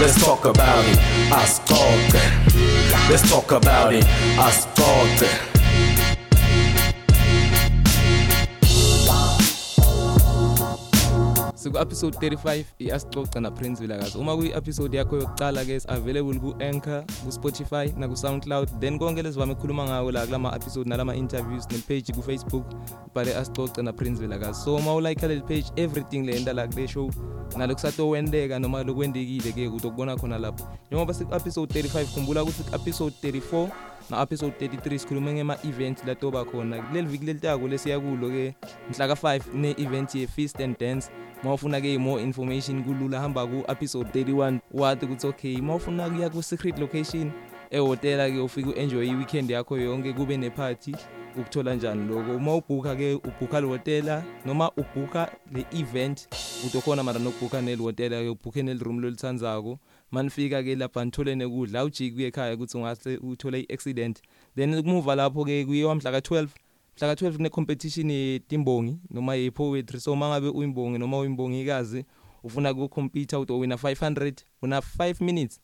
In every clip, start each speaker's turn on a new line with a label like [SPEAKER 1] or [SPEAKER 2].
[SPEAKER 1] Let's talk about it. Us talk. Let's talk about it. Us talk.
[SPEAKER 2] siku-episode 35 i-asixoxa naprinzwilakazi uma kwi-episode yakho yokuqala-ke is-available ku-anchor ku-spotify naku-soundcloud then konke lesivame ukukhuluma ngako la kulama-episode nalama-interviews nepage kufacebook bhale asixoxa naprinzwilakazi so uma ulayikha leli page everything leyenta la kule show nalo kusatowendeka noma lokwendekile-ke utokubona khona lapho njengoba siku-episode 35 khumbula ukuthi ku-episode 34 na-episode 33 sikhulume ngema-event latoba khona kuleli viki lelitako lesiya kulo-ke mhla ka-5 ne-event ye-feast and dance ma ufuna-ke more information kulula hamba ku-episode 31 wathi ukuthi okay ma ufuna kuya ku-secret location ehhotela-ke ufike u-enjoy i-weekend yakho yonke kube nephathi ukuthola njani loko uma ubhukha-ke ubhukha le hotela noma ubhukha le-event utokhona mara nokubhukha neli hotela-ke ubhukhe neli room lolithandzako manifika-ke lapha nithole nekudla ujike ekhaya ukuthi ungase uthole i-accident then kumuva lapho-ke kuyiwa mhla ka-12 mhla ka-12 kune-competition yetimbongi noma ye-poetry so uma ngabe uyimbongi noma uyimbongikazi ufuna kucompyutha utowina 500 una 5 minutes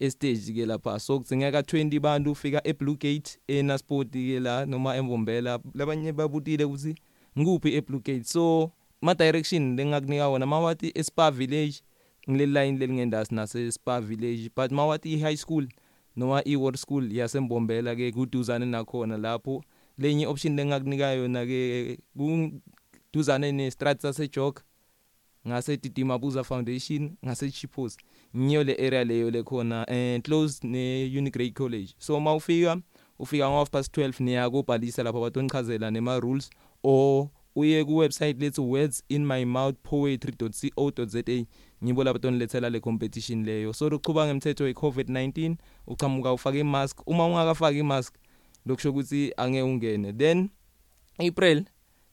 [SPEAKER 2] estage-ke lapha so kudzingeka 20 bantu ufika eblue gate enasport-ke la noma emvombela labanye babutile ukuthi ngikuphi eblue gate so ma-direction lengingakunika wona ma wathi espa village ngile line lelingengedasi nase-spa village but ma wathi i-high school noma i-ward school yasembombela-ke kuduzane nakhona lapho lenye option lengakunika yona ke kuduzane ne-strat sasejok ngase Didima Buza Foundation ngase Chipos ngiyo le area leyo lekhona eh close ne Unigrade College so mawufika ufika ngo half past 12 niya kubhalisa lapho batonichazela nema rules or uye ku website let's words in my mouth poetry.co.za ngibo lapho tonilethela le competition leyo so lokuchuba ngemthetho we COVID-19 uchamuka ufake imask uma ungakafaki imask lokusho ukuthi angeke ungene then April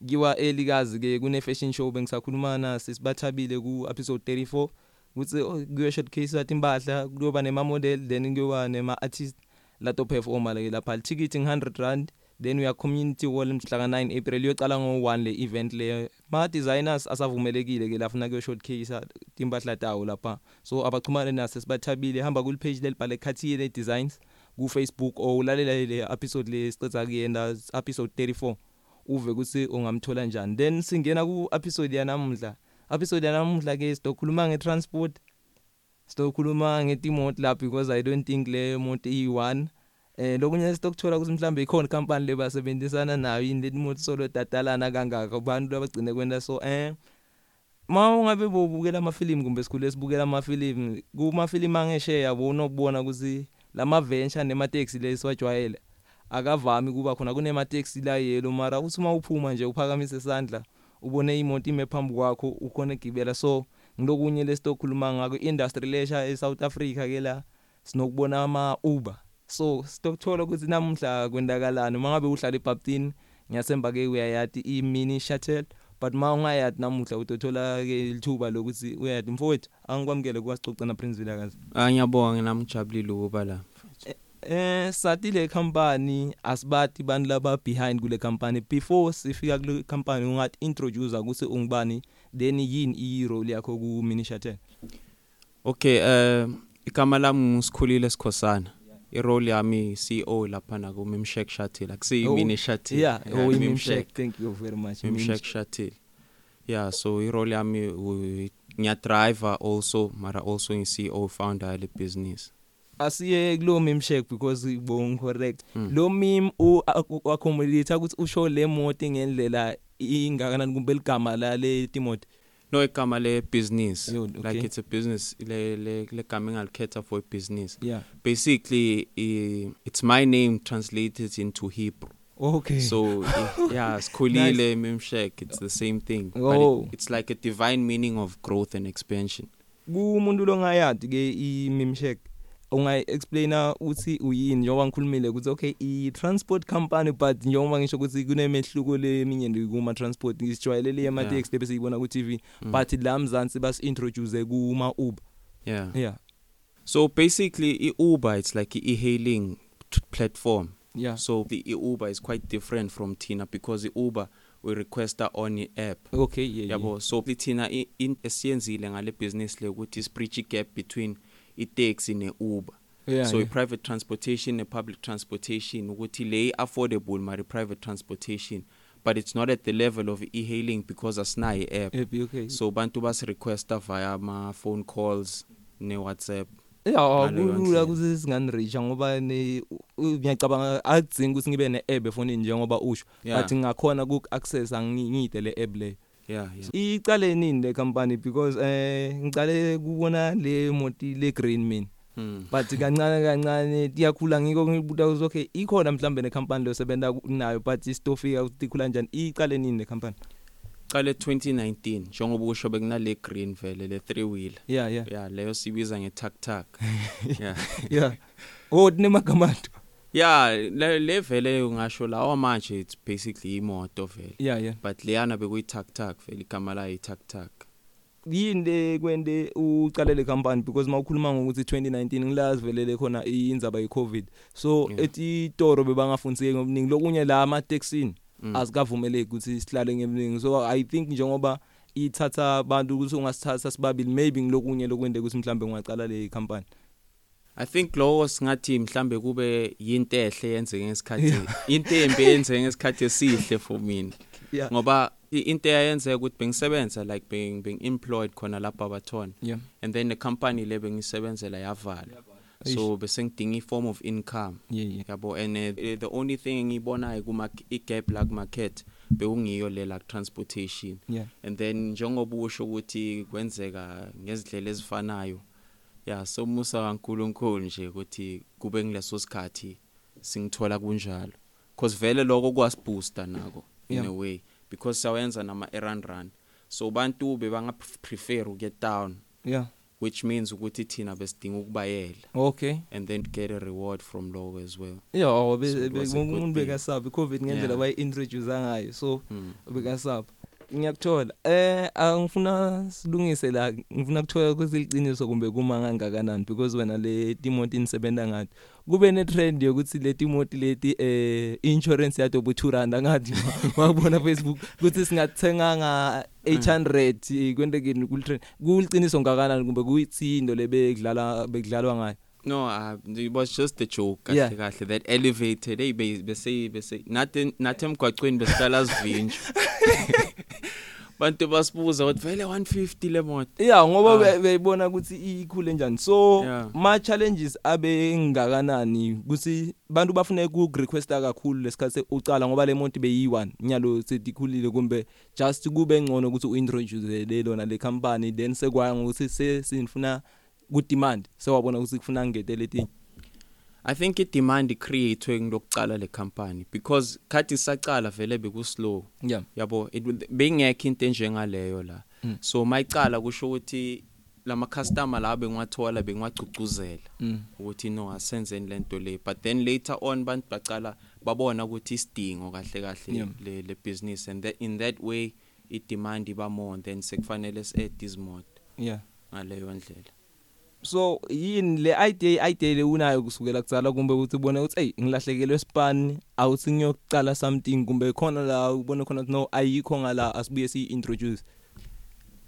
[SPEAKER 2] ngiwa elikazi ke kune fashion show bengisakhuluma na sisibathabile ku episode 34 kutsi oh, kuyo showcase yathi imbahla kuyoba nema model then kuyoba nema artist lato performa le lapha ticket ng 100 rand then uya community wall mhla ka 9 April uyoqala ngo 1 le event le ma designers asavumelekile ke lafuna kuyo showcase timbahla tawo lapha so abachumane nase sibathabile hamba kule page lelibhale Cartier Designs ku Facebook or ulalela le episode le sicitha kuyenda episode 34 uve ukuthi ungamthola njani then singena ku episode yanamuhla episode yanamuhla ke sidokhuluma ngetransport sidokhuluma ngetimoto la because i don't think le moto iyi1 eh lokunye sitokuthola ukuthi mhlambe ikhona company le basebenzisana nayo yini leti moto solo dadalana kangaka abantu abagcine kwenda so eh ma ungabe bobukela amafilimu kumbe sikhule sibukela amafilimu kumafilimu angesheya yabona ubona ukuthi lama venture nemateksi lesiwajwayele akavami kuba khona kunemateksi la yelo mara uthi uma uphuma nje uphakamise isandla ubone imoto ime phambi kwakho ukhona egibela so ngilokunye lesitokhuluma ngako industry lesha eSouth Africa ke la sinokubona ama Uber so sitokuthola ukuthi namuhla kwendakalana mangabe uhlala eBaptini ngiyasemba ke uyayati i mini shuttle but mawungayati namuhla utothola ke lithuba lokuthi uyati mfowethu angikwamkele kwasixoxa na Princeville kaze
[SPEAKER 3] Ah ngiyabonga nginamjabulile ukuba la.
[SPEAKER 2] eh sathi le company asibati bani laba behind kule company before sifika kule company ungat introduce ukuthi ungubani then yini i-role yakho ku Minishatel
[SPEAKER 3] Okay eh igama lami ngusikhulile Sikhosana. I-role yami CEO lapha na ku Mimshek Shuttle. Akusiyi
[SPEAKER 2] Oh,
[SPEAKER 3] mini shuttle.
[SPEAKER 2] yeah oh
[SPEAKER 3] Mimshek.
[SPEAKER 2] Mimshek thank you very much
[SPEAKER 3] Mimshek Shuttle. Yeah so i-role yami u- ngiya driver also mara also ngi CEO founder le business.
[SPEAKER 2] asiye kulo meme check because ibong correct lo meme u u- accommodate ukuthi usho le moto ngendlela ingakanani kumbe ligama la le Timothy
[SPEAKER 3] No igama le business.
[SPEAKER 2] Yo, okay.
[SPEAKER 3] Like it's a business le le le gama engalikhetha for a business.
[SPEAKER 2] yeah
[SPEAKER 3] Basically i- it's my name translated into Hebrew.
[SPEAKER 2] okay
[SPEAKER 3] So i- yeah, Skolile Mimshek, it's the same thing.
[SPEAKER 2] Oh.
[SPEAKER 3] But it, it's like a divine meaning of growth and expansion.
[SPEAKER 2] kumuntu longayadi ke i-mimshek ungayi-explaina uthi uyini njengoba ngikhulumile ukuthi okay i-transport company but njengoba ngisho ukuthi kunemehluko leminye nje kuma-transport ngisijwayele le yama-taxi le besiyibona ku-t v
[SPEAKER 3] Mm.
[SPEAKER 2] but la mzansi basi-introduce kuma-uber
[SPEAKER 3] Yeah.
[SPEAKER 2] yeah
[SPEAKER 3] So basically, i- Uber it's like an e-hailing t- platform.
[SPEAKER 2] yeah
[SPEAKER 3] So the i- Uber is quite different from Tina because i- Uber we requesta on i-app
[SPEAKER 2] okay yeah, yeah.
[SPEAKER 3] yabo so thina i- in- esiyenzile ngale business le ukuthi is bridge gap between i-taxi ne-uber
[SPEAKER 2] Yeah,
[SPEAKER 3] so
[SPEAKER 2] yeah.
[SPEAKER 3] i-private transportation ne-public transportation ukuthi le i-affordable mari private transportation but it's not at the level of e-hailing because asinayo i-app
[SPEAKER 2] App, okay
[SPEAKER 3] so bantu basirequesta via ama-phone calls ne-whatsapp
[SPEAKER 2] ya
[SPEAKER 3] Ngaleyo
[SPEAKER 2] kulula
[SPEAKER 3] ndlela.
[SPEAKER 2] ukuthi singaniritsha ngoba ne- u- u- ngiyacabanga akudzingi ukuthi ngibe ne-app efonini njengoba usho
[SPEAKER 3] Yeah.
[SPEAKER 2] but ngakhona ku-accessa ngiyide le-app leyo
[SPEAKER 3] yeah, yeah.
[SPEAKER 2] icale nini le company because eh ngicale kubona le moti le green mean
[SPEAKER 3] Mm.
[SPEAKER 2] but kancane kancane tiyakhula ngiko ngibuta ukuthi okay ikhona mhlambe ne company lo sebenza nayo but istofika ukuthi ikhula kanjani icale nini le company
[SPEAKER 3] qale 2019 njengoba usho bekunale green vele le three wheeler
[SPEAKER 2] yeah yeah
[SPEAKER 3] yeah leyo sibiza nge-tuk-tuk yeah
[SPEAKER 2] yeah oh tinemagamato
[SPEAKER 3] yeah le, le vele ngasho lawa manje it's basically imoto vele
[SPEAKER 2] yeah yeah
[SPEAKER 3] but leyana bekuyi-tuk-tuk vele igama layo i-tuk-tuk
[SPEAKER 2] yini le kwende ucale le company because mawukhuluma ngokuthi 2019 ngilazi velele khona indzaba ye covid so
[SPEAKER 3] Yeah.
[SPEAKER 2] etitoro bebangafundiseki ngobuningi lokunye la ama taxini
[SPEAKER 3] Mm.
[SPEAKER 2] asikavumeleki ukuthi sihlale ngebuningi so i think njengoba ithatha abantu ukuthi ungasithatha sibabili maybe ngilokunye lokwende ukuthi mhlambe ungaqala le company
[SPEAKER 3] i think lowo singathi mhlambe kube yinto ehle yenzeke ngesikhathi into embi yenzeke ngesikhathi esihle for mina
[SPEAKER 2] yeah
[SPEAKER 3] ngoba i- into eyayenzeka ukuthi bengisebenza like being being employed khona lapha abathona
[SPEAKER 2] yeah
[SPEAKER 3] and then the company le bengisebenzela yavalwa so bese ngidinga i-form of income
[SPEAKER 2] yeah yeah
[SPEAKER 3] yabo and uh, the only thing engiyibonayo kuma i-gap la kumarket bekungiyo le la transportation
[SPEAKER 2] yeah
[SPEAKER 3] and then njengoba usho ukuthi kwenzeka ngezindlela ezifanayo ya so musa kaNkuluNkulu nje ukuthi kube ngileso sikhathi singithola kunjalo because vele lokho kwasibooster nako in
[SPEAKER 2] Yeah.
[SPEAKER 3] a way because sawenza nama errand run so bantu bebanga prefer uke town
[SPEAKER 2] yeah
[SPEAKER 3] which means ukuthi thina besidinga ukubayela
[SPEAKER 2] okay
[SPEAKER 3] and then get a reward from lokho as well
[SPEAKER 2] yeah
[SPEAKER 3] So it was a good
[SPEAKER 2] umuntu
[SPEAKER 3] thing.
[SPEAKER 2] bekasaba i-covid ngendlela
[SPEAKER 3] Yeah.
[SPEAKER 2] bayi-introduce ngayo so
[SPEAKER 3] Mm.
[SPEAKER 2] bekasaba ngiyakuthola eh angifuna silungise la ngifuna kuthola ukuthi liqiniso kumbe kuma kangakanani because wena le timoti nisebenza ngathi kube ne-trend yokuthi le timoti leti eh insurance yadoba u-two rand ngathi wabona facebook ukuthi singathenganga
[SPEAKER 3] Hmm.
[SPEAKER 2] eh, 800 kwentekeni kulitrend kuliciniso ngakanani kumbe kuyitsindo le bekudlala bekudlalwa ngayo
[SPEAKER 3] No, uh, it was just a joke kahle
[SPEAKER 2] Yeah.
[SPEAKER 3] kahle that elevated hey be- bese bese nathi nathi emgwaqweni besihlala sivinje. Bantu basibuza ukuthi vele 150 le moto.
[SPEAKER 2] Yeah ngoba
[SPEAKER 3] Ah.
[SPEAKER 2] be- beyibona ukuthi ikhule kanjani so
[SPEAKER 3] Yeah.
[SPEAKER 2] ma challenges abe ngakanani kuthi bantu bafune ku requesta kakhulu lesikhathi ucala ngoba le monti beyi1 nyalo setikhulile kumbe just kube ngcono ukuthi u introduce le lona le company then sekwaya ngokuthi sesinifuna ku demand sewabona ukuthi kufuna ngetele letinye
[SPEAKER 3] I think i demand createwe ngilokucala le company because khathi sacala vele bekuslow.
[SPEAKER 2] yeah
[SPEAKER 3] yabo it would- beyingekho into enjengaleyo la
[SPEAKER 2] Mm.
[SPEAKER 3] so mayicala kusho ukuthi lama customer la bengiwathola bengiwagcugcuzela
[SPEAKER 2] Mm.
[SPEAKER 3] ukuthi no asenzeni lento le but then later on bantu bacala babona ukuthi isidingo kahle kahle
[SPEAKER 2] Yeah.
[SPEAKER 3] le, le business and that, in that way i demand iba more and then sekufanele si add izimoto
[SPEAKER 2] yeah
[SPEAKER 3] ngaleyo ndlela
[SPEAKER 2] so yini le idea idea le unayo kusukela kutsala kumbe ukuthi ubone ukuthi hey ngilahlekelwe span awuthi ngiyokucala something kumbe khona la ubone khona ukuthi no ayikho ngala asibuye si introduce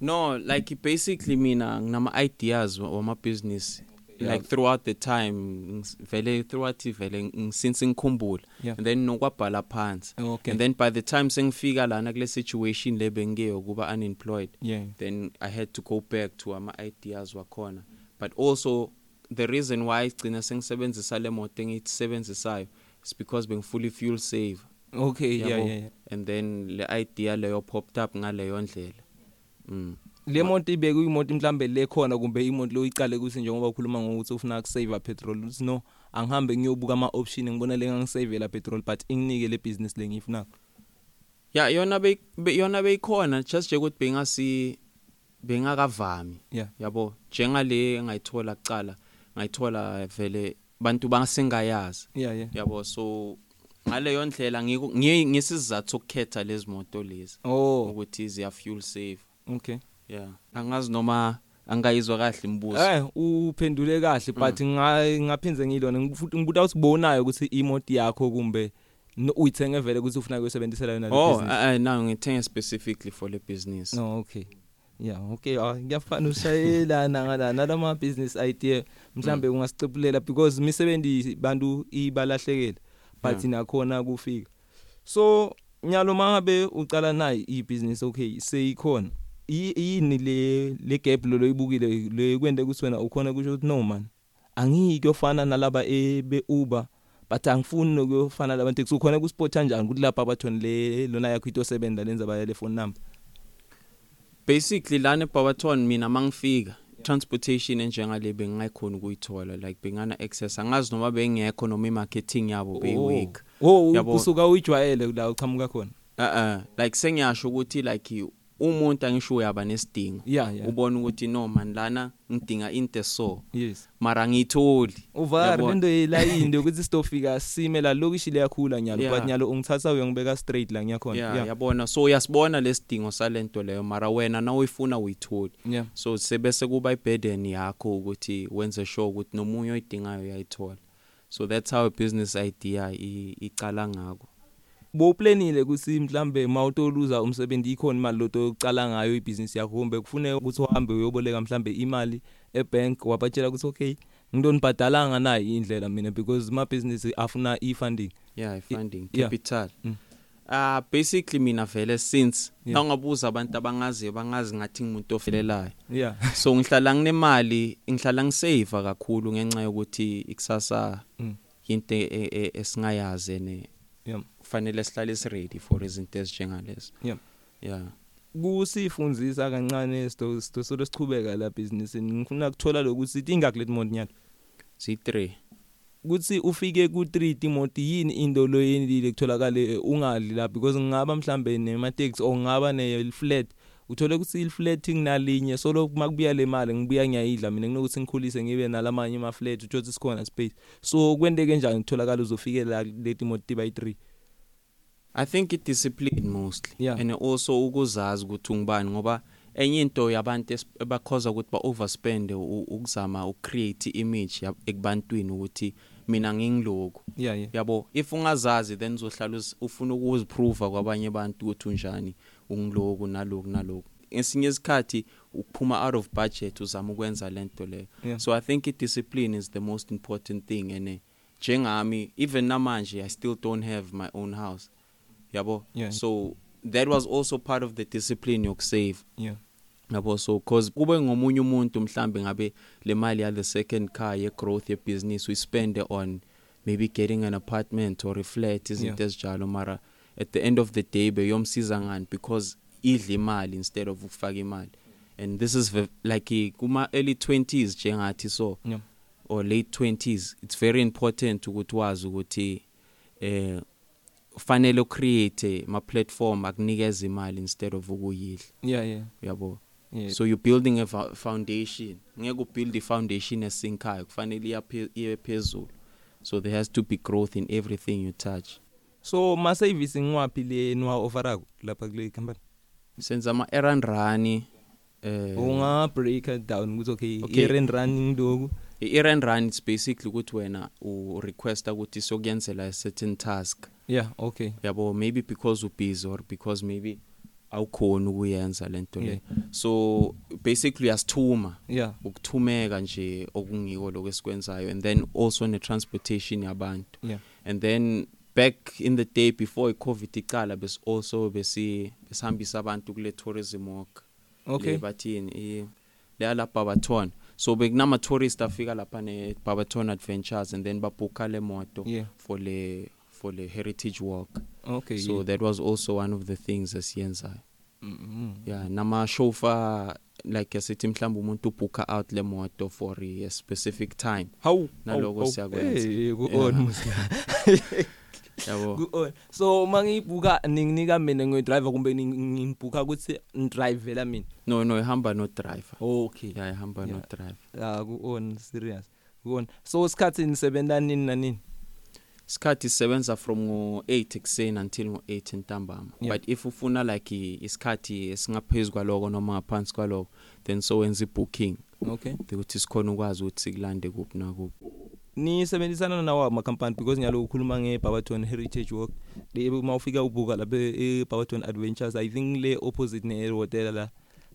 [SPEAKER 3] no like basically mina nginama ideas wa- wama business
[SPEAKER 2] Yeah.
[SPEAKER 3] yeah. like throughout the time ngis- vele throughout vele ng- since ngikhumbula
[SPEAKER 2] Yeah. Oh,
[SPEAKER 3] and then nokwabhala phansi
[SPEAKER 2] Okay.
[SPEAKER 3] and then by the time sengifika lana kule situation le bengiyo kuba unemployed
[SPEAKER 2] yeah
[SPEAKER 3] then i had to go back to ama ideas wakhona but also the reason why igcina sengisebenzisa le moto engiyitsebenzisayo is because bengifully fuel save
[SPEAKER 2] okay yeah yeah, yeah.
[SPEAKER 3] and then le idea leyo popped up ngaleyo ndlela mm
[SPEAKER 2] le monto ibeke uyimoto mhlambe le khona kumbe imoto loyicale ukuthi njengoba ukhuluma ngokuthi ufuna ukusave petrol uthi no angihambe ngiyobuka ama option ngibona lengangisave la petrol but inginike le business lengifuna
[SPEAKER 3] ya yona bey- be- yona beyikhona just nje ukuthi bengasi bengakavami
[SPEAKER 2] yeah
[SPEAKER 3] yabo njengale engayithola kucala ngayithola vele bantu bangasengayazi
[SPEAKER 2] yeah yeah
[SPEAKER 3] yabo so ngaleyo ndlela ngiko- ngi- ngisizathu sokukhetha lezi moto lezi
[SPEAKER 2] oh
[SPEAKER 3] ukuthi ziya fuel save
[SPEAKER 2] okay
[SPEAKER 3] yeah angazi noma angayizwa kahle imibuzo
[SPEAKER 2] Eh uphendule kahle but nga- ngaphinze ngilona ngifuthi ngibuta usibonayo ukuthi imoti yakho kumbe no uyithenge vele ukuthi ufuna ukuyisebenzisela yona le
[SPEAKER 3] oh
[SPEAKER 2] business?
[SPEAKER 3] uh, now ngithenge specifically for le business
[SPEAKER 2] no Oh, okay yeah okay ah ngiyafana ushayelana ngala nalama business idea mhlambe ungasicebulela because imisebenzi bantu ibalahlekela but
[SPEAKER 3] Yeah.
[SPEAKER 2] nakhona kufika so nyalo mangabe ucala naye ibusiness okay seyikhona i- yini le le gap lo loyibukile le kwende ukuthi wena ukhona kusho ukuthi no man angiyikuyofana nalaba ebe Uber but angifuni nokuyofana labantu ekusukhona ku spot kanjani ukuthi lapha abathoni le lona yakho into sebenza lenza baya le phone number
[SPEAKER 3] basically lana eBarberton mina mangifika transportation enjengale bengayikhona ukuyithola like bengana access angazi noma bengekho noma imarketing yabo beyiweak
[SPEAKER 2] oh
[SPEAKER 3] Yabo.
[SPEAKER 2] usuka uyijwayele la uchamuka khona
[SPEAKER 3] uh uh like sengiyasho ukuthi like umuntu angisho uyaba nesidingo
[SPEAKER 2] yeah yeah
[SPEAKER 3] ubona ukuthi no man lana ngidinga into so
[SPEAKER 2] yes
[SPEAKER 3] mara ngiyitholi
[SPEAKER 2] uvar
[SPEAKER 3] Yabo.
[SPEAKER 2] lento yelayini yokuthi sitofika sime la lokishi liyakhula nyalo
[SPEAKER 3] Yeah.
[SPEAKER 2] but nyalo ungithatha uyongibeka straight la ngiyakhona
[SPEAKER 3] yeah
[SPEAKER 2] yeah
[SPEAKER 3] yabona so uyasibona lesidingo salento leyo mara wena nawuyifuna uyitholi
[SPEAKER 2] yeah
[SPEAKER 3] so sebese kuba iburden yakho ukuthi wenze sure ukuthi nomunye oyidingayo uyayithola so that's how a business idea i- iqala ngako
[SPEAKER 2] bo planile ukuthi mhlambe mawutoluza umsebenzi ikhona imali loto yokucala ngayo ibusiness yakho kumbe kufuneka ukuthi uhambe uyoboleka mhlambe imali ebank wabatshela ukuthi okay ngidonibhadalanga nayo indlela mina because my business afuna i-funding
[SPEAKER 3] yeah funding
[SPEAKER 2] yeah.
[SPEAKER 3] capital
[SPEAKER 2] Mm.
[SPEAKER 3] ah basically mina vele since
[SPEAKER 2] Yeah.
[SPEAKER 3] nangabuza abantu abangazi bangazi ngathi ngimuntu ofelelayo
[SPEAKER 2] yeah
[SPEAKER 3] so ngihlala nginemali ngihlala ngisave kakhulu ngenxa yokuthi ikusasa
[SPEAKER 2] Mm.
[SPEAKER 3] into e- e- esingayazi ne
[SPEAKER 2] yeah
[SPEAKER 3] kufanele sihlale siready for izinto ezinjengalezo
[SPEAKER 2] yeah
[SPEAKER 3] yeah
[SPEAKER 2] kusifundzisa kancane sto sto solo sichubeka la business ngifuna ukuthola lokuthi ingakulet month nyalo
[SPEAKER 3] si3
[SPEAKER 2] kutsi ufike ku3 Timothy yini into loyendile kutholakale eh, ungadli la because ngingaba mhlambe nema tax or ngingaba ne flat uthole ukuthi il flatting nalinye so lokhu makubuya le mali ngibuya ngiyayidla mina kunokuthi ngikhulise ngibe nalamanye ama flat uthole ukuthi sikhona space so kwendeke njani kutholakale uzofike la le Timothy by 3
[SPEAKER 3] I think it discipline mostly
[SPEAKER 2] Yeah.
[SPEAKER 3] and also ukuzazi ukuthi ungubani ngoba enye into yabantu es- ebakhoza ukuthi ba overspend u- ukuzama ukcreate image yab- ekubantwini ukuthi mina ngingiloko
[SPEAKER 2] yeah yeah
[SPEAKER 3] yabo if ungazazi then uzohlala uzi- ufuna ukuziprova kwabanye abantu ukuthi unjani ungiloku naloku naloku esinye isikhathi ukuphuma out of budget uzama ukwenza lento leyo
[SPEAKER 2] Yeah.
[SPEAKER 3] so i think i-discipline is the most important thing and eh, njengami even namanje i still don't have my own house yabo
[SPEAKER 2] Yeah.
[SPEAKER 3] so that was also part of the discipline yokusave
[SPEAKER 2] yeah
[SPEAKER 3] yabo so cause kube ngomunye umuntu mhlambe ngabe le mali ya the second car ye growth ye business we spend it on maybe getting an apartment or a flat isn't
[SPEAKER 2] Yeah.
[SPEAKER 3] yeah. esjalo mara at the end of the day beyomsiza ngani because idle imali instead of ukufaka imali and this is ve- like i- kuma early 20s njengathi so
[SPEAKER 2] yeah
[SPEAKER 3] or late 20s it's very important ukuthi wazi ukuthi eh fanele ucreate ma platform akunikeza imali instead of ukuyidla
[SPEAKER 2] yeah yeah
[SPEAKER 3] yabo
[SPEAKER 2] yeah
[SPEAKER 3] so you're building a fo- foundation ngeke ubuild i-foundation esinkayo kufanele iyaphe- iye phezulu so there has to be growth in everything you touch
[SPEAKER 2] so ma service ngwapi le nwa offerako lapha kule company
[SPEAKER 3] senza ama-errand run um
[SPEAKER 2] unga break it down ukuthi okay
[SPEAKER 3] Okay.
[SPEAKER 2] errand running doku
[SPEAKER 3] i-errand run it's basically ukuthi wena urequesta ukuthi sokuyenzela a certain task
[SPEAKER 2] yeah okay
[SPEAKER 3] yabo maybe because ubusy or because maybe awukhoni ukuyenza le nto
[SPEAKER 2] Yeah.
[SPEAKER 3] le so basically uyasithuma
[SPEAKER 2] yeah
[SPEAKER 3] ukuthumeka nje okungiko lokho esikwenzayo and then also ne transportation yabantu
[SPEAKER 2] yeah
[SPEAKER 3] and then back in the day before icovid iqala bes also besi besihambisa abantu kule tourism walk
[SPEAKER 2] okay
[SPEAKER 3] le bathini i le lapha bathona so bekunama tourists afika lapha ne Barberton Adventures and then babhuka le moto
[SPEAKER 2] Yeah.
[SPEAKER 3] for le for le heritage walk
[SPEAKER 2] okay
[SPEAKER 3] so
[SPEAKER 2] yeah.
[SPEAKER 3] that was also one of the things esiyenzayo
[SPEAKER 2] mm
[SPEAKER 3] yeah nama chauffeur like asithi mhlawumbe umuntu ubhuka out le moto for a specific time
[SPEAKER 2] how
[SPEAKER 3] Naloko siyakwenza.
[SPEAKER 2] ku
[SPEAKER 3] Yeah.
[SPEAKER 2] on musika
[SPEAKER 3] yabo
[SPEAKER 2] ku on so mangibuka ninginika mina ngiy driver kumbe ngibuka ukuthi ndrive la mina
[SPEAKER 3] no no ihamba no driver
[SPEAKER 2] okay
[SPEAKER 3] yeah ihamba no
[SPEAKER 2] Yeah.
[SPEAKER 3] driver
[SPEAKER 2] ah ku on serious ku on so isikhathi nisebenza nini nanini
[SPEAKER 3] isikhathi sisebenza from ngo-8 ekuseni until ngo-8 ntambama
[SPEAKER 2] Yeah.
[SPEAKER 3] but if ufuna like i- isikhathi esingaphezu kwaloko noma ngaphansi kwaloko then so wenza i-booking
[SPEAKER 2] okay
[SPEAKER 3] ukuthi sikhona ukwazi ukuthi sikulande kuphi nakuphi
[SPEAKER 2] nisebenzisana nawo amakhampani because ngiyaloku ukhuluma ngeBarberton Heritage Walk le mawufika ubuka lapha eBarberton Adventures i think le opposite nehotela la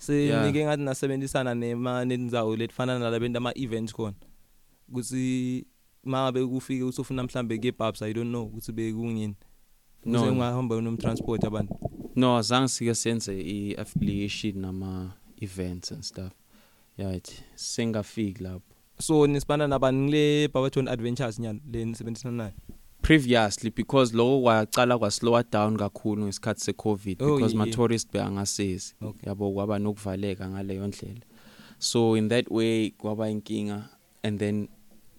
[SPEAKER 3] Yeah.
[SPEAKER 2] senike ngathi nasebenzisana nema nendzawo letifana nala benda ama events khona kutsi mabe kufike usofuna mhlambe kebabs i don't know ukuthi bekungini
[SPEAKER 3] No.
[SPEAKER 2] ungahamba unomtransport abantu
[SPEAKER 3] No, zange sike senze i-affiliation nama events and stuff. Yeah, it singafiki lapho.
[SPEAKER 2] so nisibana nabani ngile Barberton Adventures nyalo le nisebenzisana nayo
[SPEAKER 3] Previously because lo waqala kwaslowa down kakhulu ngesikhathi seCovid
[SPEAKER 2] Oh,
[SPEAKER 3] because
[SPEAKER 2] yeah,
[SPEAKER 3] ma
[SPEAKER 2] yeah.
[SPEAKER 3] tourists beangasisi.
[SPEAKER 2] Okay.
[SPEAKER 3] Yabo kwaba nokuvaleka ngaleyo ndlela. So in that way kwaba inkinga and then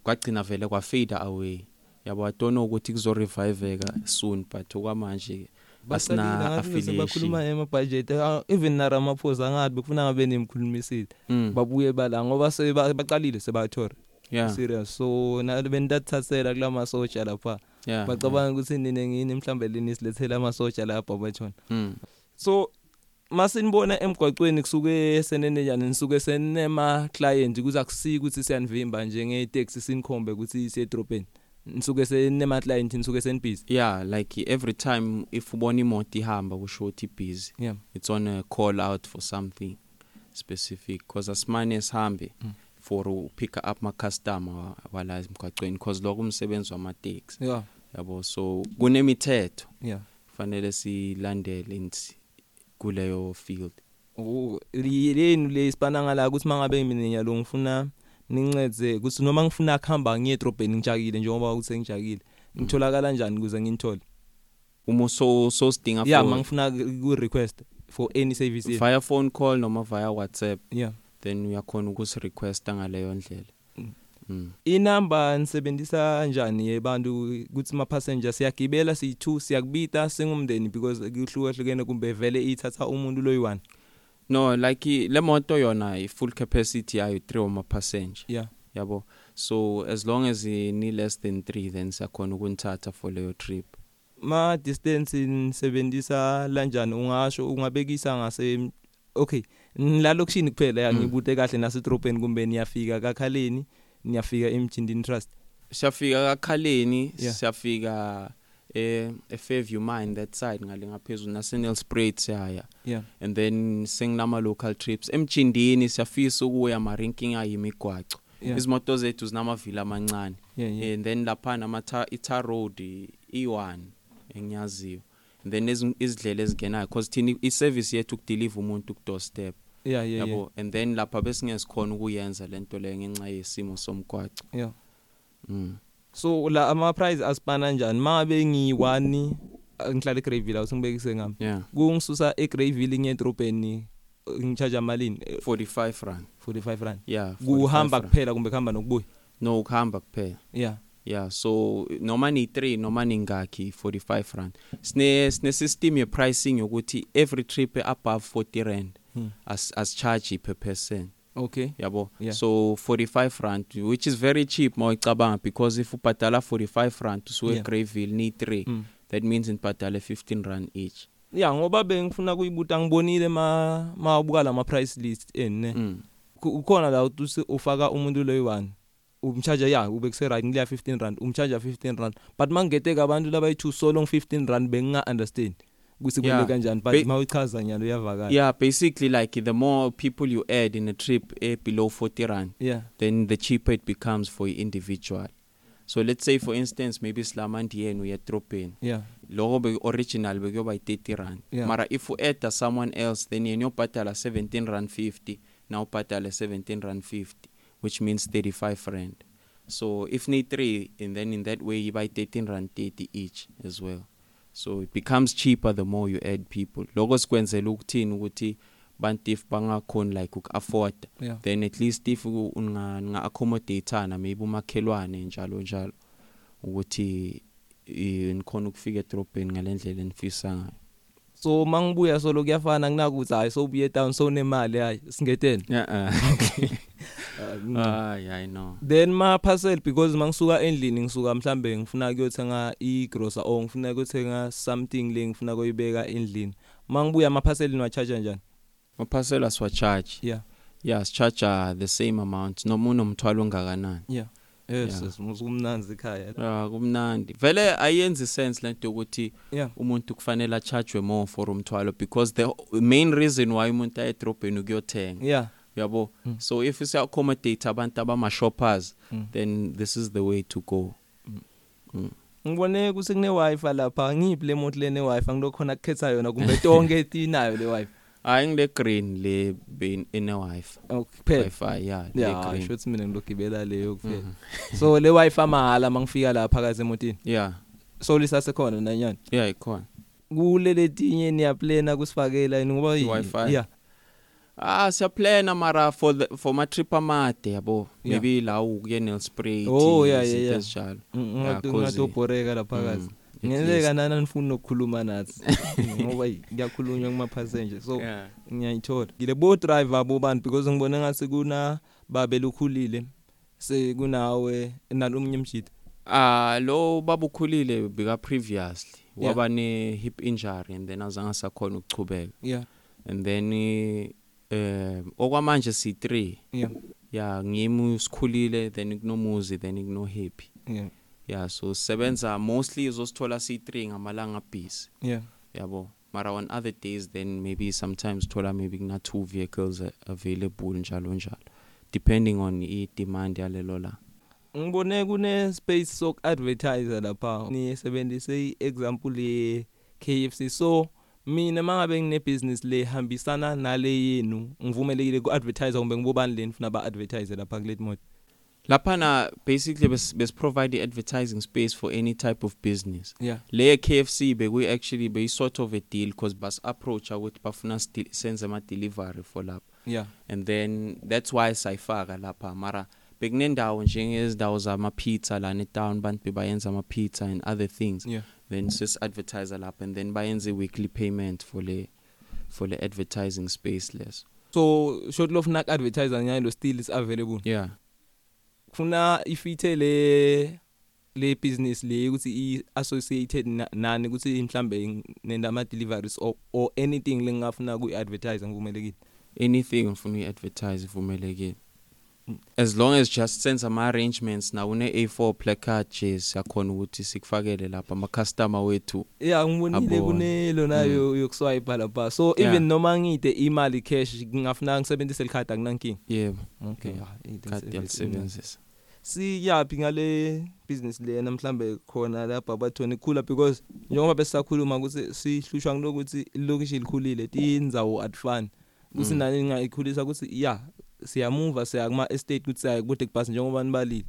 [SPEAKER 3] kwagcina vele kwafade away. Yabo I don't know ukuthi kuzo reviveka soon but okwamanje asina affiliation.
[SPEAKER 2] bakhuluma emabudget Ah, even naramaphosa angathi bekufuna ngabe nemkhulumisile
[SPEAKER 3] Mm,
[SPEAKER 2] babuye bala ngoba seba- baqalile sebathola
[SPEAKER 3] Yeah.
[SPEAKER 2] serious so nalo bendathathela kulamasosha lapha
[SPEAKER 3] Yeah.
[SPEAKER 2] bacabanga ukuthi nine ngini mhlambe lenisilethela amasosha lapha bathona
[SPEAKER 3] Mm.
[SPEAKER 2] so masinibona emgwaqweni kusuke senenenjani nisuke senema client ukuthi akusiki ukuthi siyanivimba njenge taxi sinikhombe ukuthi siye dropeni nisuke senema client nisuke senibhizi
[SPEAKER 3] yeah like every time if ubona imoto ihamba kusho ukuthi busy
[SPEAKER 2] yeah
[SPEAKER 3] it's on a call out for something specific because asimane sihambe
[SPEAKER 2] Mm.
[SPEAKER 3] for pick up ma customer wa- wala emgwaqweni because lokho umsebenzi wamateksi
[SPEAKER 2] yeah
[SPEAKER 3] yabo so kunemithetho
[SPEAKER 2] yeah
[SPEAKER 3] fanele silandele ins- kuleyo field
[SPEAKER 2] Oh, li- lenu le isibana ngala ukuthi mangabe mina nyalo ngifuna ningincede ukuthi noma ngifuna akuhamba ngiye edrobheni ngijakile njengoba ukuthi ngijakile ngitholakala kanjani ukuze nginithole
[SPEAKER 3] uma so so sidinga
[SPEAKER 2] yeah
[SPEAKER 3] for-
[SPEAKER 2] mangifuna ku request for any service yeah.
[SPEAKER 3] via phone call noma via whatsapp
[SPEAKER 2] yeah
[SPEAKER 3] then uyakhona ukusirequesta ngaleyo ndlela
[SPEAKER 2] Mm.
[SPEAKER 3] mm.
[SPEAKER 2] inamba nisebenzisa kanjani yebantu ukuthi ma passenger siyagibela siyi2 siyakubita singumndeni because kuhlukahlukene kumbe vele ithatha umuntu loyi1
[SPEAKER 3] no like i- le moto yona i-full capacity yayo 3 wama passenger
[SPEAKER 2] yeah
[SPEAKER 3] yabo so as long as ni less than 3 then siyakhona ukunithatha for leyo trip
[SPEAKER 2] ma distance nisebenzisa lanjani ungasho ungabekisa ngase okay la lokushini kuphela ya,
[SPEAKER 3] Mm.
[SPEAKER 2] ngibute kahle nasedrobheni kumbe niyafika kakhaleni niyafika emjindini trust
[SPEAKER 3] siyafika kakhaleni
[SPEAKER 2] Yeah.
[SPEAKER 3] siyafika eh efairview mine that side ngale ngaphezulu nasenel spraid siyaya
[SPEAKER 2] yeah
[SPEAKER 3] and then singinama local trips emjindini siyafisa ukuya marinking ayimigwaco
[SPEAKER 2] yeah
[SPEAKER 3] izimoto zethu zinamavila amancane
[SPEAKER 2] yeah yeah
[SPEAKER 3] and then lapha nama ita road i1 engiyaziyo and then ezi- izindlela ezingenayo because thini i-service yethu ukudeliver umuntu ku doorstep
[SPEAKER 2] yeah yeah yeah
[SPEAKER 3] yabo and then lapha besingesikhona ukuyenza lento leyo ngenxa yesimo somgwaco
[SPEAKER 2] yeah
[SPEAKER 3] mm.
[SPEAKER 2] so la ama price asipana kanjani mangabe ngi1 ngihlala eGreyville awusingibekise ngami
[SPEAKER 3] yeah
[SPEAKER 2] kungisusa eGreyville ngiyedrobheni ngicharge amalini Eh,
[SPEAKER 3] 45 rand
[SPEAKER 2] 45 rand
[SPEAKER 3] yeah 45
[SPEAKER 2] kuhamba
[SPEAKER 3] rand.
[SPEAKER 2] kuphela kumbe kuhamba nokubuya
[SPEAKER 3] no ukuhamba kuphela
[SPEAKER 2] yeah
[SPEAKER 3] yeah so noma ni 3 noma ningakhi 45 rand sine sine system ye pricing yokuthi every trip above 40 rand
[SPEAKER 2] Hmm.
[SPEAKER 3] as as charge per person
[SPEAKER 2] okay
[SPEAKER 3] yabo
[SPEAKER 2] Yeah.
[SPEAKER 3] so 45 rand which is very cheap mawicabanga because if ubhadala 45 rand usuke
[SPEAKER 2] Yeah.
[SPEAKER 3] yeah. Greyville ni 3
[SPEAKER 2] Mm.
[SPEAKER 3] that means nibhadale 15 rand each
[SPEAKER 2] ya ngoba bengifuna kuyibuta ngibonile ma mawabuka la ma price list ene
[SPEAKER 3] mm.
[SPEAKER 2] ukhona la uthi ufaka umuntu loyi one umcharge ya ube kuse right ngiya 15 rand umcharge 15 rand but mangete ka abantu labayi2 so long 15 rand benginga understand ukuthi kumele
[SPEAKER 3] Yeah.
[SPEAKER 2] kanjani
[SPEAKER 3] Be-
[SPEAKER 2] but mawuchaza nyalo uyavakala
[SPEAKER 3] yeah basically like the more people you add in a trip eh, below 40 rand
[SPEAKER 2] yeah
[SPEAKER 3] then the cheaper it becomes for individual so let's say for instance maybe slamandiyeni uyedrobheni
[SPEAKER 2] yeah
[SPEAKER 3] loko be-original bekuyoba yi-30 rand
[SPEAKER 2] Yeah.
[SPEAKER 3] mara if u-adda someone else then yena uyobhadala 17 rand 50 na ubhadale 17 rand 50 which means 35 rand so if ni-3 and then in that way iba yi-13 rand 30 each as well so it becomes cheaper the more you add people loko sikwenzela ukuthini ukuthi bantu if bangakhoni like uku-afforda
[SPEAKER 2] yeah
[SPEAKER 3] then at least if u- unga unga accommodateana maybe umakhelwane njalo njalo ukuthi eh, nikhona ukufika edrobheni ngalendlela enifisa ngayo
[SPEAKER 2] so mangibuya solo kuyafana nginakuthi hayi so buye down so nemali hayi singetene
[SPEAKER 3] yeah uh,
[SPEAKER 2] Uh, mm.
[SPEAKER 3] ay i know
[SPEAKER 2] then ma parcel because mangisuka endlini ngisuka mhlambe ngifuna ukuyothenga igrocer or ngifuna ukuyothenga something le ngifuna kuyibeka endlini mangibuya ama parcel niwacharge njani
[SPEAKER 3] maphasela asiwa charge
[SPEAKER 2] yeah
[SPEAKER 3] yeah sicharge the same amount noma unomthwalo ongakanani
[SPEAKER 2] yeah yes
[SPEAKER 3] Yeah.
[SPEAKER 2] yes, musukumnanzi ekhaya la.
[SPEAKER 3] Ah kumnandi. Vele ayenzi sense lento ukuthi
[SPEAKER 2] yeah
[SPEAKER 3] umuntu kufanele acharge more for umthwalo because the main reason why umuntu aye edrobheni ukuyothenga.
[SPEAKER 2] yeah
[SPEAKER 3] Yabo.
[SPEAKER 2] Mm.
[SPEAKER 3] So if you accommodate abantu abama shoppers
[SPEAKER 2] Mm.
[SPEAKER 3] then this is the way to go. Mm.
[SPEAKER 2] ngibone ukuthi kune wifi lapha ngiphi le moto lene wifi ngilokhona kukhetha yona kumbe tonke etinayo le wifi
[SPEAKER 3] Hayi ngile green Ah, le bin in a wife.
[SPEAKER 2] okuphela
[SPEAKER 3] Wi-Fi yeah,
[SPEAKER 2] yeah
[SPEAKER 3] le green. Mm-hmm.
[SPEAKER 2] sho ukuthi mina ngilogibela leyo kuphela so le wifi mahala mangifika lapha kaze emotini
[SPEAKER 3] Yeah.
[SPEAKER 2] so lisasekhona nanyani
[SPEAKER 3] Yeah, ikhona.
[SPEAKER 2] kule letinye niyaplana kusifakela yini ngoba yi-
[SPEAKER 3] I-Wi-Fi?
[SPEAKER 2] yeah
[SPEAKER 3] Ah siyaplana mara for the, for ma trip amade yabo
[SPEAKER 2] Yeah.
[SPEAKER 3] maybe la ukuye Nelspruit
[SPEAKER 2] Oh, yeah, yeah, yeah.
[SPEAKER 3] njalo
[SPEAKER 2] mm,
[SPEAKER 3] Yeah, cozy.
[SPEAKER 2] ngatobhoreka lapha kaze
[SPEAKER 3] Mm,
[SPEAKER 2] ngenzeka nana nifuni nokukhuluma nathi ngoba yi- kuyakhulunywa kuma-passenger so
[SPEAKER 3] yeah
[SPEAKER 2] ngiyayithola ngile bo-driver bobantu because ngibone ngathi kuna babe lukhulile sekunawe nalomunye mjidi
[SPEAKER 3] ah lo babukhulile bika previously
[SPEAKER 2] Yeah.
[SPEAKER 3] waba ne hip injury and then azange sakhona ukuchubeka
[SPEAKER 2] yeah
[SPEAKER 3] and then eh, eh okwamanje si3
[SPEAKER 2] yeah
[SPEAKER 3] yeah ngimi usikhulile then kunomuzi then kuno happy
[SPEAKER 2] yeah
[SPEAKER 3] yeah so sebenza mostly uzosithola si3 ngamalanga busy
[SPEAKER 2] yeah
[SPEAKER 3] yabo mara on other days then maybe sometimes thola maybe kuna two vehicles a- available njalo njalo depending on i demand yalelo la
[SPEAKER 2] ngibone kune space sok advertiser lapha niyisebenzise i-example ye KFC so mina mangabe ngine business le hambisana nale yenu ngivumelekile ku advertiser kumbe ngibobani leni funa ba advertise lapha kule mode
[SPEAKER 3] laphana basically bes, bes provide the advertising space for any type of business
[SPEAKER 2] yeah
[SPEAKER 3] le KFC beku actually be sort of a deal cause bas approach ukuthi bafuna still senze ama delivery for lapha
[SPEAKER 2] yeah
[SPEAKER 3] and then that's why sayifaka lapha mara bekunendawo njengezindawo zama pizza la ne town bantu bebayenza ama pizza and other things
[SPEAKER 2] yeah
[SPEAKER 3] then sis advertiser lapha and then bayenze weekly payment for le for le advertising space less
[SPEAKER 2] so short loaf nak advertiser nyalo still is available
[SPEAKER 3] yeah
[SPEAKER 2] kufuna ifithe le le business le ukuthi i associated na- nani ukuthi mhlambe nendama deliveries or, or anything lengafuna ku advertiser ngivumelekile
[SPEAKER 3] anything ufuna uyiadvertise ivumelekile eh, as long as just sense ama arrangements na une A4 placard nje siyakhona ukuthi sikufakele lapha ama customer wethu
[SPEAKER 2] yeah ngibonile
[SPEAKER 3] Abone. Mm.
[SPEAKER 2] kunelo nayo yokuswipe lapha so
[SPEAKER 3] Yeah.
[SPEAKER 2] even noma ngide imali cash ngingafuna ngisebenzise likhadi akunankinga
[SPEAKER 3] yebo
[SPEAKER 2] okay
[SPEAKER 3] Yeah, card
[SPEAKER 2] yeah
[SPEAKER 3] yalisebenzisa
[SPEAKER 2] siyapi ngale business lena mhlambe khona lapha bathoni khula because njengoba besisakhuluma ukuthi sihlushwa kulokuthi ilokishi likhulile tindzawo atfani kuthi
[SPEAKER 3] Mm.
[SPEAKER 2] nani ningayikhulisa ukuthi yeah siyamuva siya kuma estate kuthi siya kude kubhasi njengoba nibalile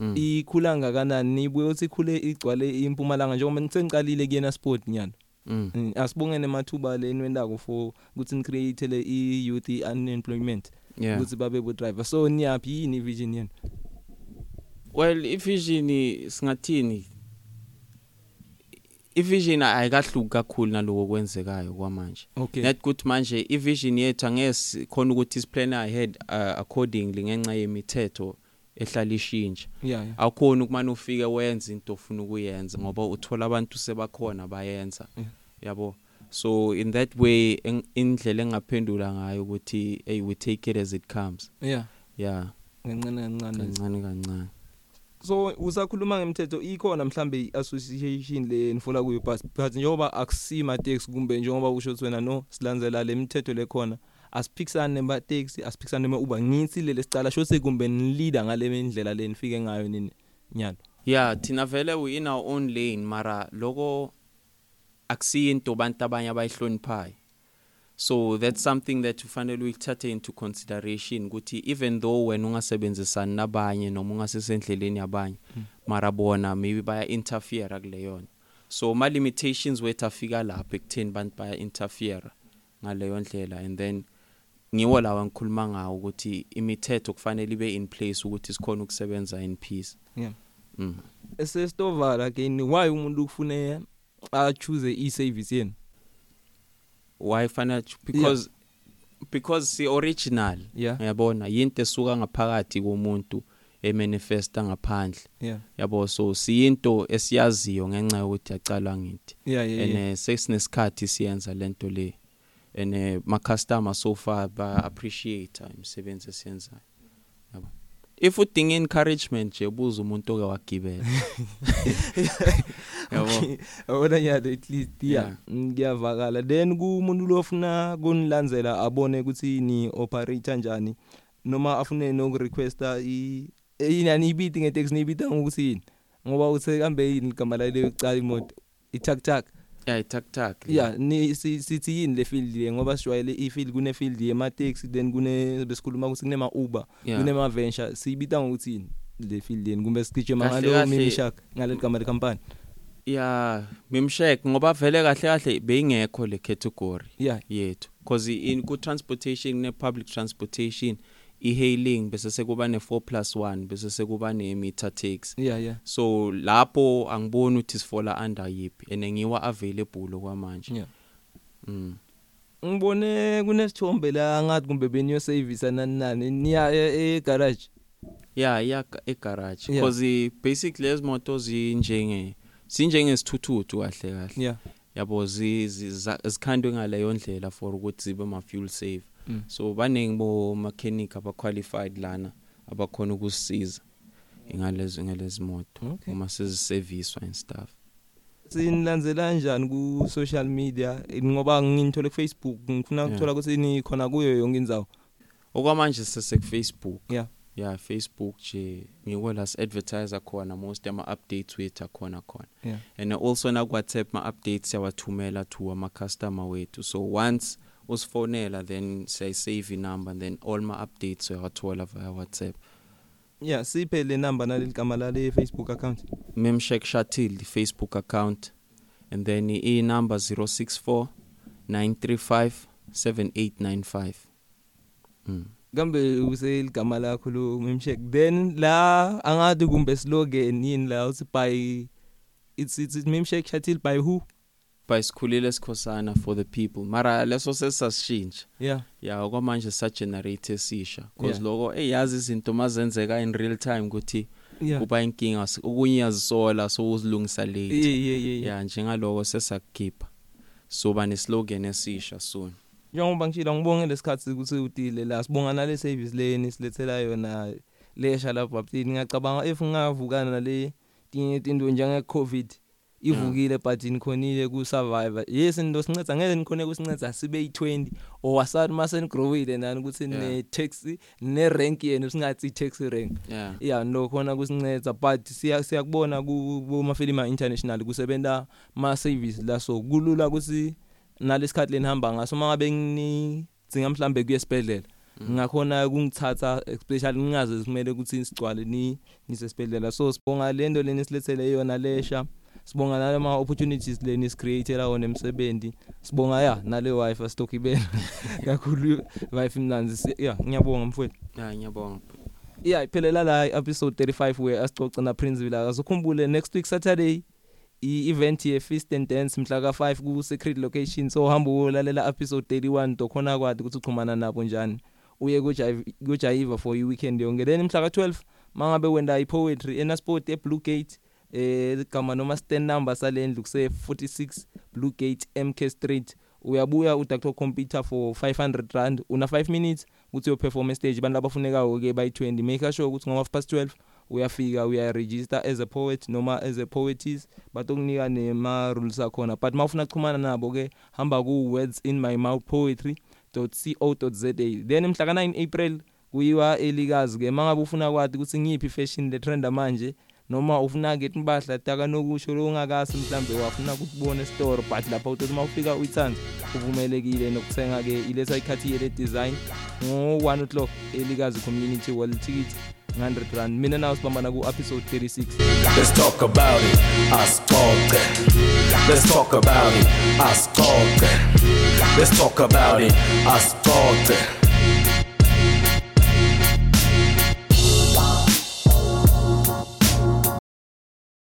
[SPEAKER 3] Mm.
[SPEAKER 2] ikhula ngakanani nibuye uthi ikhule igcwale impumalanga njengoba ngisengicalile kuyena sport nyana
[SPEAKER 3] mm.
[SPEAKER 2] Mm, asibongene mathuba lenwendako for ukuthi ni create le youth unemployment
[SPEAKER 3] yeah
[SPEAKER 2] ukuthi babe bo driver so niyapi yini vision yenu
[SPEAKER 3] well ivision singathini ivision ayikahluki kakhulu naloko kwenzekayo kwamanje
[SPEAKER 2] okay
[SPEAKER 3] net good manje ivision yethu angesi khona ukuthi isplan ahead uh, accordingly ngenxa yemithetho ehlala ishintsha
[SPEAKER 2] yeah yeah
[SPEAKER 3] awukhona ukumane ufike wenze into ofuna ukuyenza ngoba uthola abantu sebakhona bayenza
[SPEAKER 2] Yeah.
[SPEAKER 3] yabo so in that way eng- indlela engaphendula ngayo ukuthi hey we take it as it comes
[SPEAKER 2] yeah
[SPEAKER 3] yeah
[SPEAKER 2] ngincane kancane
[SPEAKER 3] kancane kancane
[SPEAKER 2] so usakhuluma ngemthetho ikhona mhlambe iassociation le nifuna kuyo but but njengoba akusima tax kumbe njengoba usho ukuthi wena no silandzela le mithetho lekhona asiphikisane nema tax asiphikisane nema uber ngithi lele sicala sho sekumbe nileader ngale ndlela le nifike ngayo nini nyalo
[SPEAKER 3] yeah thina vele we in our own lane mara loko akusiyinto bantu abanye abayihloniphayo so that's something that ufanele uyithathe into consideration ukuthi even though wena ungasebenzisani nabanye noma ungasesendleleni yabanye mara bona maybe baya interfere kuleyona so ma limitations wethu afika lapha ekutheni bantu baya interfere ngaleyo ndlela and then ngiwo lawa ngikhuluma ngawo ukuthi imithetho kufanele ibe in place ukuthi sikhona ukusebenza in peace
[SPEAKER 2] yeah
[SPEAKER 3] mm.
[SPEAKER 2] esesitovala again why umuntu ufune a choose e service yenu
[SPEAKER 3] why financial because yeah. because si original
[SPEAKER 2] yeah
[SPEAKER 3] uyabona yinto esuka ngaphakathi komuntu emanifesta ngaphandle
[SPEAKER 2] yeah
[SPEAKER 3] yabo so siyinto esiyaziyo ngenxa yokuthi yacalwa ngithi
[SPEAKER 2] yeah yeah, yeah.
[SPEAKER 3] and eh, sesinesikhathi siyenza lento le eh, and ma customer so far ba appreciate imsebenzi esiyenzayo yabo if udinga encouragement nje buza umuntu oke wagibela yabo
[SPEAKER 2] yabona nyalo at least yeah
[SPEAKER 3] Yeah.
[SPEAKER 2] ngiyavakala then kumuntu lofuna kunilandzela abone ukuthi ni operator njani noma afune nokurequesta i inani ibiti ngetext nibita ngokuthi yini ngoba uthe kambe yini igama laleyo icala imoto itak tak
[SPEAKER 3] yeah tak tak
[SPEAKER 2] yeah ni si- sithi yini le field le ngoba sijwayele ifield kune field yema taxi then kune besikhuluma ukuthi kunema Uber
[SPEAKER 3] Yeah.
[SPEAKER 2] kunema venture siyibita ngokuthi yini le field leni kumbe sikhitshwe
[SPEAKER 3] Kahle,
[SPEAKER 2] mangalo
[SPEAKER 3] kahle.
[SPEAKER 2] mimi shark ngaleli gama le company
[SPEAKER 3] yeah mimshake ngoba vele kahle kahle beyingekho le category
[SPEAKER 2] yeah
[SPEAKER 3] yethu because in ku transportation ne public transportation ihailing bese sekuba ne 4 plus 1 bese sekuba ne meter takes
[SPEAKER 2] yeah yeah
[SPEAKER 3] so lapho angiboni ukuthi sifola under yipi and ngiwa available okwamanje
[SPEAKER 2] yeah
[SPEAKER 3] mm.
[SPEAKER 2] ngibone kunesithombe la ngathi kumbe beniyo service nani nani niya e- e garage
[SPEAKER 3] yeah iya egarage
[SPEAKER 2] Yeah.
[SPEAKER 3] because basically lezi moto zinjenge sinjenge sithuthuthu kahle kahle
[SPEAKER 2] yeah
[SPEAKER 3] yabo zi- zi- za- zikhandwe ngaleyo ndlela for ukuthi zibe ma fuel save
[SPEAKER 2] Mm.
[SPEAKER 3] so baningi bo mechanic abaqualified lana abakhona ukusiza ngalezo ngalezi moto
[SPEAKER 2] Okay.
[SPEAKER 3] uma seziserviswa and stuff
[SPEAKER 2] sinilandzela kanjani ku social media ngoba ngingithole ku Facebook ngifuna
[SPEAKER 3] Yeah.
[SPEAKER 2] ukuthola ukuthi nikhona kuyo yonke indzawo
[SPEAKER 3] okwamanje sise ku Facebook
[SPEAKER 2] yeah
[SPEAKER 3] yeah Facebook nje ngikola si advertiser khona most ama updates wethu khona khona
[SPEAKER 2] yeah
[SPEAKER 3] and also na WhatsApp ma updates siyawathumela to ama customer wethu so once usifonela then say save inumber then all ma updates uyawathola via WhatsApp
[SPEAKER 2] yeah siphe le number naleli gama la le Facebook account
[SPEAKER 3] memshake shatil the Facebook account and then i number 064 935 7895 mm.
[SPEAKER 2] kambe useligama lakho lo memshek then la angathi kumbe slogan yini la uthi by it's it's it's memshek shuttle by who
[SPEAKER 3] by sikhulile sikhosana for the people mara leso sesasishintsha
[SPEAKER 2] yeah
[SPEAKER 3] ya okwamanje sa-generate esisha because
[SPEAKER 2] Yeah.
[SPEAKER 3] yeah. loko eyazi izinto mazenzeka in real time ukuthi
[SPEAKER 2] yeah
[SPEAKER 3] kuba inkinga s- okunye uyazisola so uzilungisa late
[SPEAKER 2] yeah yeah yeah, yeah
[SPEAKER 3] ya njengaloko sesakukhipha soba neslogan esisha soon
[SPEAKER 2] njengoba ngishilo ngibonge lesikhathi ukuthi utile la sibonga nale service leni silethela yona lesha lapha baptini ngicabanga if ngingavukana nale tinye tinto njenge covid ivukile but nikhonile ku survivor yesi into sinceda ngeke nikhone kusinceda sibe yi20 owasathi mase nigrowile nani ukuthi
[SPEAKER 3] Yeah.
[SPEAKER 2] ne taxi ne rank yenu singathi taxi rank
[SPEAKER 3] yeah
[SPEAKER 2] yeah no khona kusinceda but siya siyakubona ku kumafilima international kusebenza ma service la so kulula ukuthi nalesikhathi lenihamba ngaso mangabe nginidzinga mhlambe kuyesibedlela ngakhona kungithatha especially ningaze simele ukuthi sigcwale ni nisesibedlela so sibonga lento leni silethele yona lesha sibonga nale ma opportunities leni sicreatela wona emsebenzi sibonga ya nale wifi stokhibela kakhulu wifi mnanzi Si- yeah ngiyabonga mfowethu
[SPEAKER 3] ya ngiyabonga bro.
[SPEAKER 2] yeah iphelela la episode 35 where asicoca na Princeville akazukhumbule next week Saturday i-event ye Feast and Dance mhla ka5 ku secret location so hamba ulalela episode 31 dokhona kwathi ukuthi uxhumana nabo njani uye ku Jive- ku Jive for i weekend yonke then mhla ka12 mangabe wenda i poetry ena sport e Blue Gate eh kama noma stand number salendlu kuse 46 Blue Gate MK Street uyabuya u Dr Computer for 500 rand una 5 minutes ukuthi uyoperform stage abantu abafunekayo ke by 20 make sure ukuthi ngoma past 12 uyafika uya register as a poet noma as a poetess batokunika nema rules akhona but mawufuna ukuxhumana nabo ke hamba ku words in my mouth poetry.co.za then mhla ka9 April kuyiwa elikazi ke mangabe ufuna kwathi ukuthi ngiyiphi fashion le trend manje noma ufuna ke impahla taka nokusho lo ungakasi mhlambe wafuna ukubona store but lapha uthi uma ufika uyitsanza uvumelekile nokuthenga ke iletha ikhathi yele design ngo-1 o'clock elikazi community wall ticket 100 rand mina nawe sibambana ku-episode 36
[SPEAKER 1] Let's talk about it. Ascolte. Let's talk about it. Ascolte. Let's talk about it. Ascolte.